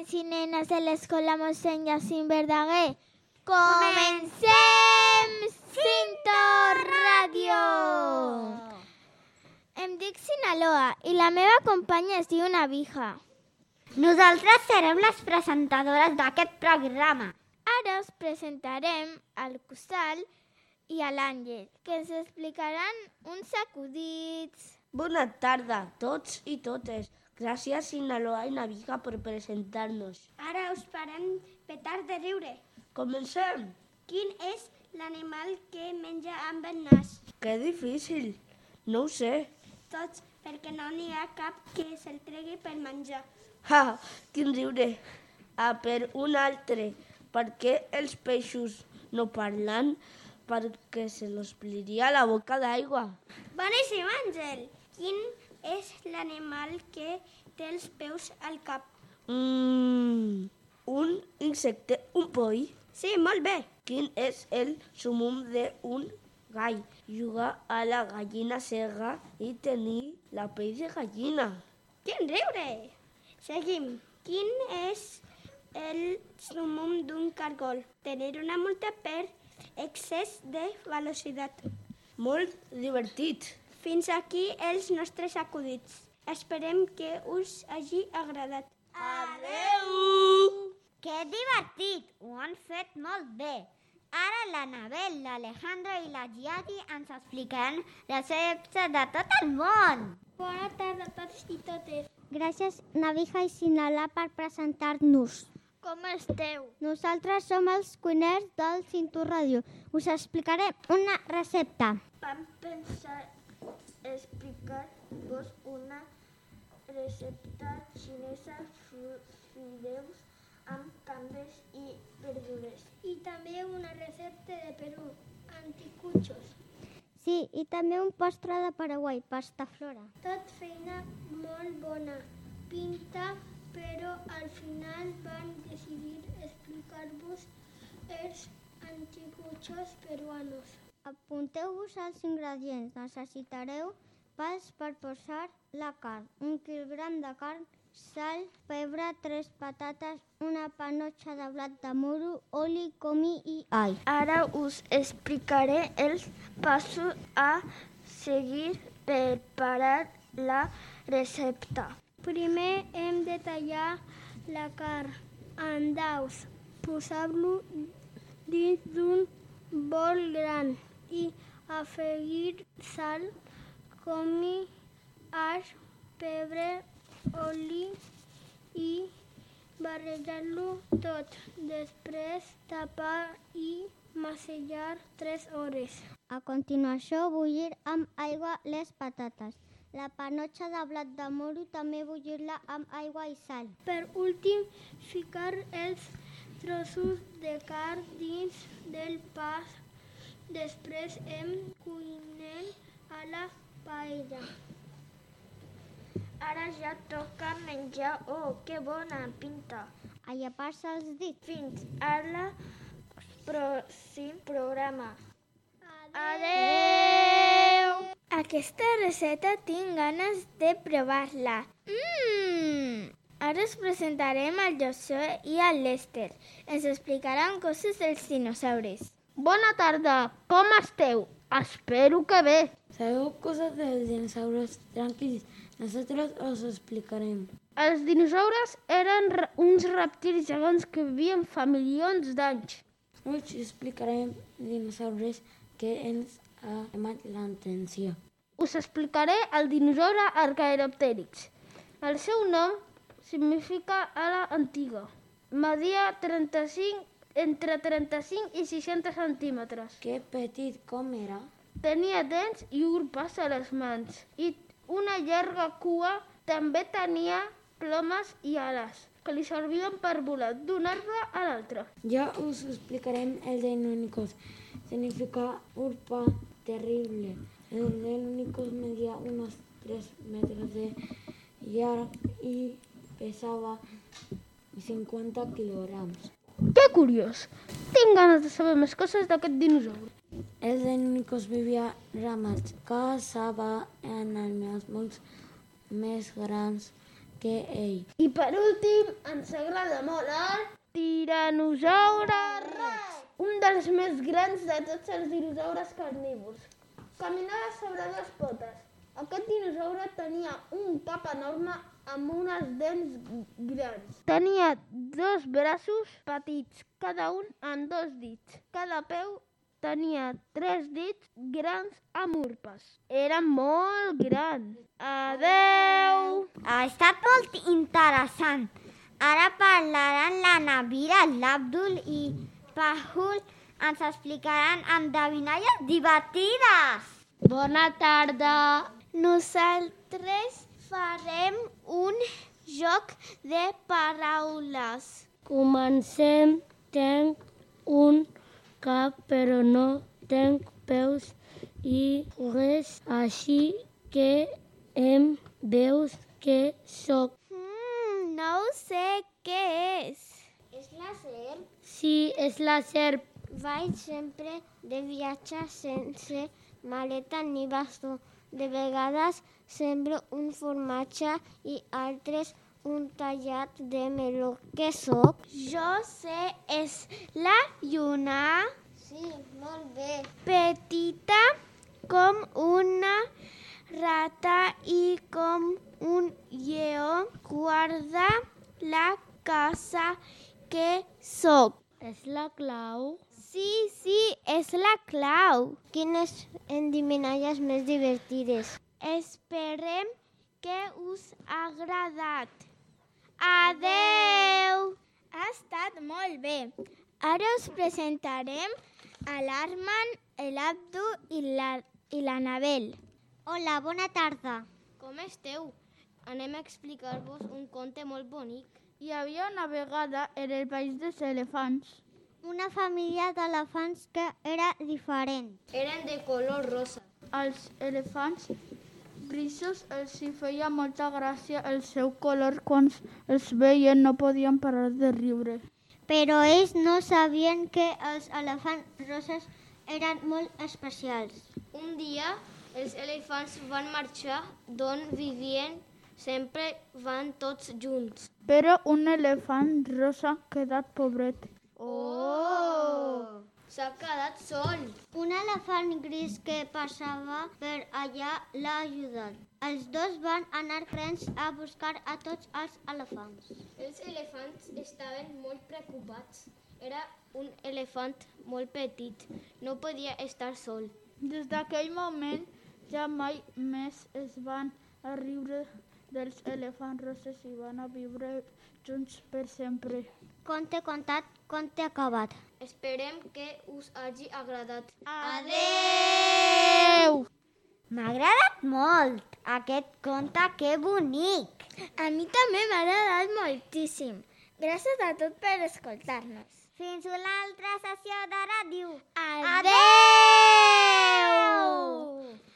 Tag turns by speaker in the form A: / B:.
A: Comencem a l'escola mossèn Jacint Verdaguer. Comencem Cinto Ràdio! Em dic Sinaloa i la meva companya es diu Navija.
B: Nosaltres serem les presentadores d'aquest programa.
A: Ara us presentarem al Costal i a l'Àngel, que ens explicaran uns acudits.
C: Bona tarda a tots i totes. Gràcies, Sinaloa i Naviga, per presentar-nos.
B: Ara us farem petar de riure.
C: Comencem!
B: Quin és l'animal que menja amb el nas?
C: Que difícil! No ho sé.
B: Tots, perquè no n'hi ha cap que se'l tregui per menjar.
C: Ha! Quin riure! Ah, per un altre. Per què els peixos no parlen? Perquè se n'ompliria la boca d'aigua.
B: Boníssim, Àngel! Quin és l'animal que té els peus al cap?
C: Mmm... Un insecte, un poll.
B: Sí, molt bé.
C: Quin és el sumum d'un gall? Jugar a la gallina cega i tenir la pell de gallina.
B: Quin riure! Seguim. Quin és el sumum d'un cargol? Tenir una multa per excés de velocitat.
C: Molt divertit.
B: Fins aquí els nostres acudits. Esperem que us hagi agradat.
C: Adeu!
B: Que divertit! Ho han fet molt bé. Ara l'Anabel, l'Alejandro i la Giadi ens explicaran receptes de tot el món.
A: Bona tarda a tots i totes. Gràcies, Navija i Sinalà, per presentar-nos. Com esteu? Nosaltres som els cuiners del Cintur Ràdio. Us explicaré una recepta.
B: Vam pensar explicar-vos una recepta xinesa fideus amb cambes i verdures. I també una recepta de Perú, anticuchos.
A: Sí, i també un postre de Paraguai, pasta flora.
B: Tot feina molt bona, pinta, però al final van decidir explicar-vos els anticuchos peruanos.
A: Apunteu-vos als ingredients. Necessitareu pas per posar la carn, un quilogram de carn, sal, pebre, tres patates, una panotxa de blat de moro, oli, comí i all.
B: Ara us explicaré els passos a seguir per preparar la recepta. Primer hem de tallar la carn en daus, posar-lo dins d'un bol gran i afegir sal, comi, aix, pebre, oli i barrejar-lo tot, després tapar i macellar 3 hores.
A: A continuació, bullir amb aigua les patates. La panotxa de blat de moro també bullir-la amb aigua i sal.
B: Per últim, ficar els trossos de carn dins del pas. Després hem cuinem a la paella. Ara ja toca menjar. Oh, que bona pinta!
A: A llepar-se els dits.
B: Fins al pròxim programa.
A: Adeu!
B: Aquesta receta tinc ganes de provar-la. Mmm! Ara us presentarem al Josué i al Lester. Ens explicaran coses dels dinosaures.
D: Bona tarda, com esteu? Espero que bé.
E: Sabeu cosas de los dinosaurios, tranquilos, nosotros os explicaremos.
D: Els dinosaures eren re- uns rèptils gegants que vivien fa milions d'anys.
E: Hoy os explicarem dinosaurios que ens ha llamat l'atenció.
D: Us explicaré el dinosaure Archaeopteryx. El seu nom significa ala antiga. Media 35, entre 35 i 60 centímetres.
E: Que petit com era,
D: Tenia dents i urpes a les mans i una llarga cua també tenia plomes i ales que li servien per volar d'un arbre a l'altre.
E: ja us explicarem el deinónicos. Significa urpa terrible. El deinónicos medía unos 3 metros de largo y pesaba 50 kilogramos.
D: Que curiós! Tinc ganes de saber més coses d'aquest dinosaure.
E: Els deinònicos vivia ramats, caçava en animals molts més grans que que ell.
D: I per últim, ens agrada molt el Tiranosaure Rex, un dels més grans de tots els dinosaures carnívors. Caminava sobre dues potes. Aquest dinosaure tenia un cap enorme amb unes dents grans. Tenia dos braços petits, cada un amb dos dits. Cada peu tenia tres dits grans amb urpes. Era molt gran. Adeu!
A: Ha estat Ah, molt interessant. Ara parlaran la Navira, l'Abdul i Pahul. Ens explicaran endevinalles divertides.
B: Bona tarda. Nosaltres farem un joc de paraules.
D: Comencem. Tenc un cap, però no tenc peus i res, així que em veus que sóc.
B: Mm, no sé què és.
A: És la serp.
D: Sí, és la serp.
A: Vaig sempre de viatge sense maleta ni bastó. De vegades sembro un formatge i altres un tallat de meló. Què sóc?
B: Jo sé és la lluna
A: Sí, molt bé.
B: petita com una rata i com un lleó guarda la casa que sóc.
D: És la clau.
B: Sí, sí, és la clau.
A: Quines endivinalles més divertides.
B: Esperem que us ha agradat. Adeu! Ha estat molt bé. Ara us presentarem a l'Arman, l'Abdu i la, i la Nabel.
A: Hola, bona tarda.
B: Com esteu? Anem a explicar-vos un conte molt bonic.
D: Hi havia una vegada en el país dels elefants.
A: Una família d'elefants que era diferent.
B: Eren de color rosa.
D: Als elefants grisos els hi feia molta gràcia el seu color quan els veien no podien parar de riure.
A: Però ells no sabien que els elefants roses eren molt especials.
B: Un dia els elefants van marxar d'on vivien, sempre van tots junts.
D: Però un elefant rosa quedat pobret.
B: Oh! S'ha quedat sol.
A: Un elefant gris que passava per allà l'ha ajudat. Els dos van anar crents a buscar a tots els elefants.
B: Els elefants estaven molt preocupats. Era un elefant molt petit. No podia estar sol.
D: Des d'aquell moment ja mai més es van a riure dels elefants roses i van a viure junts per sempre.
A: Conte contat, conte acabat.
B: Esperem que us hagi agradat.
A: M'ha agradat molt aquest conte, que bonic!
B: A mi també m'ha agradat moltíssim. Gràcies a tot per escoltar-nos.
A: Fins una altra sessió de ràdio.
B: Adeu!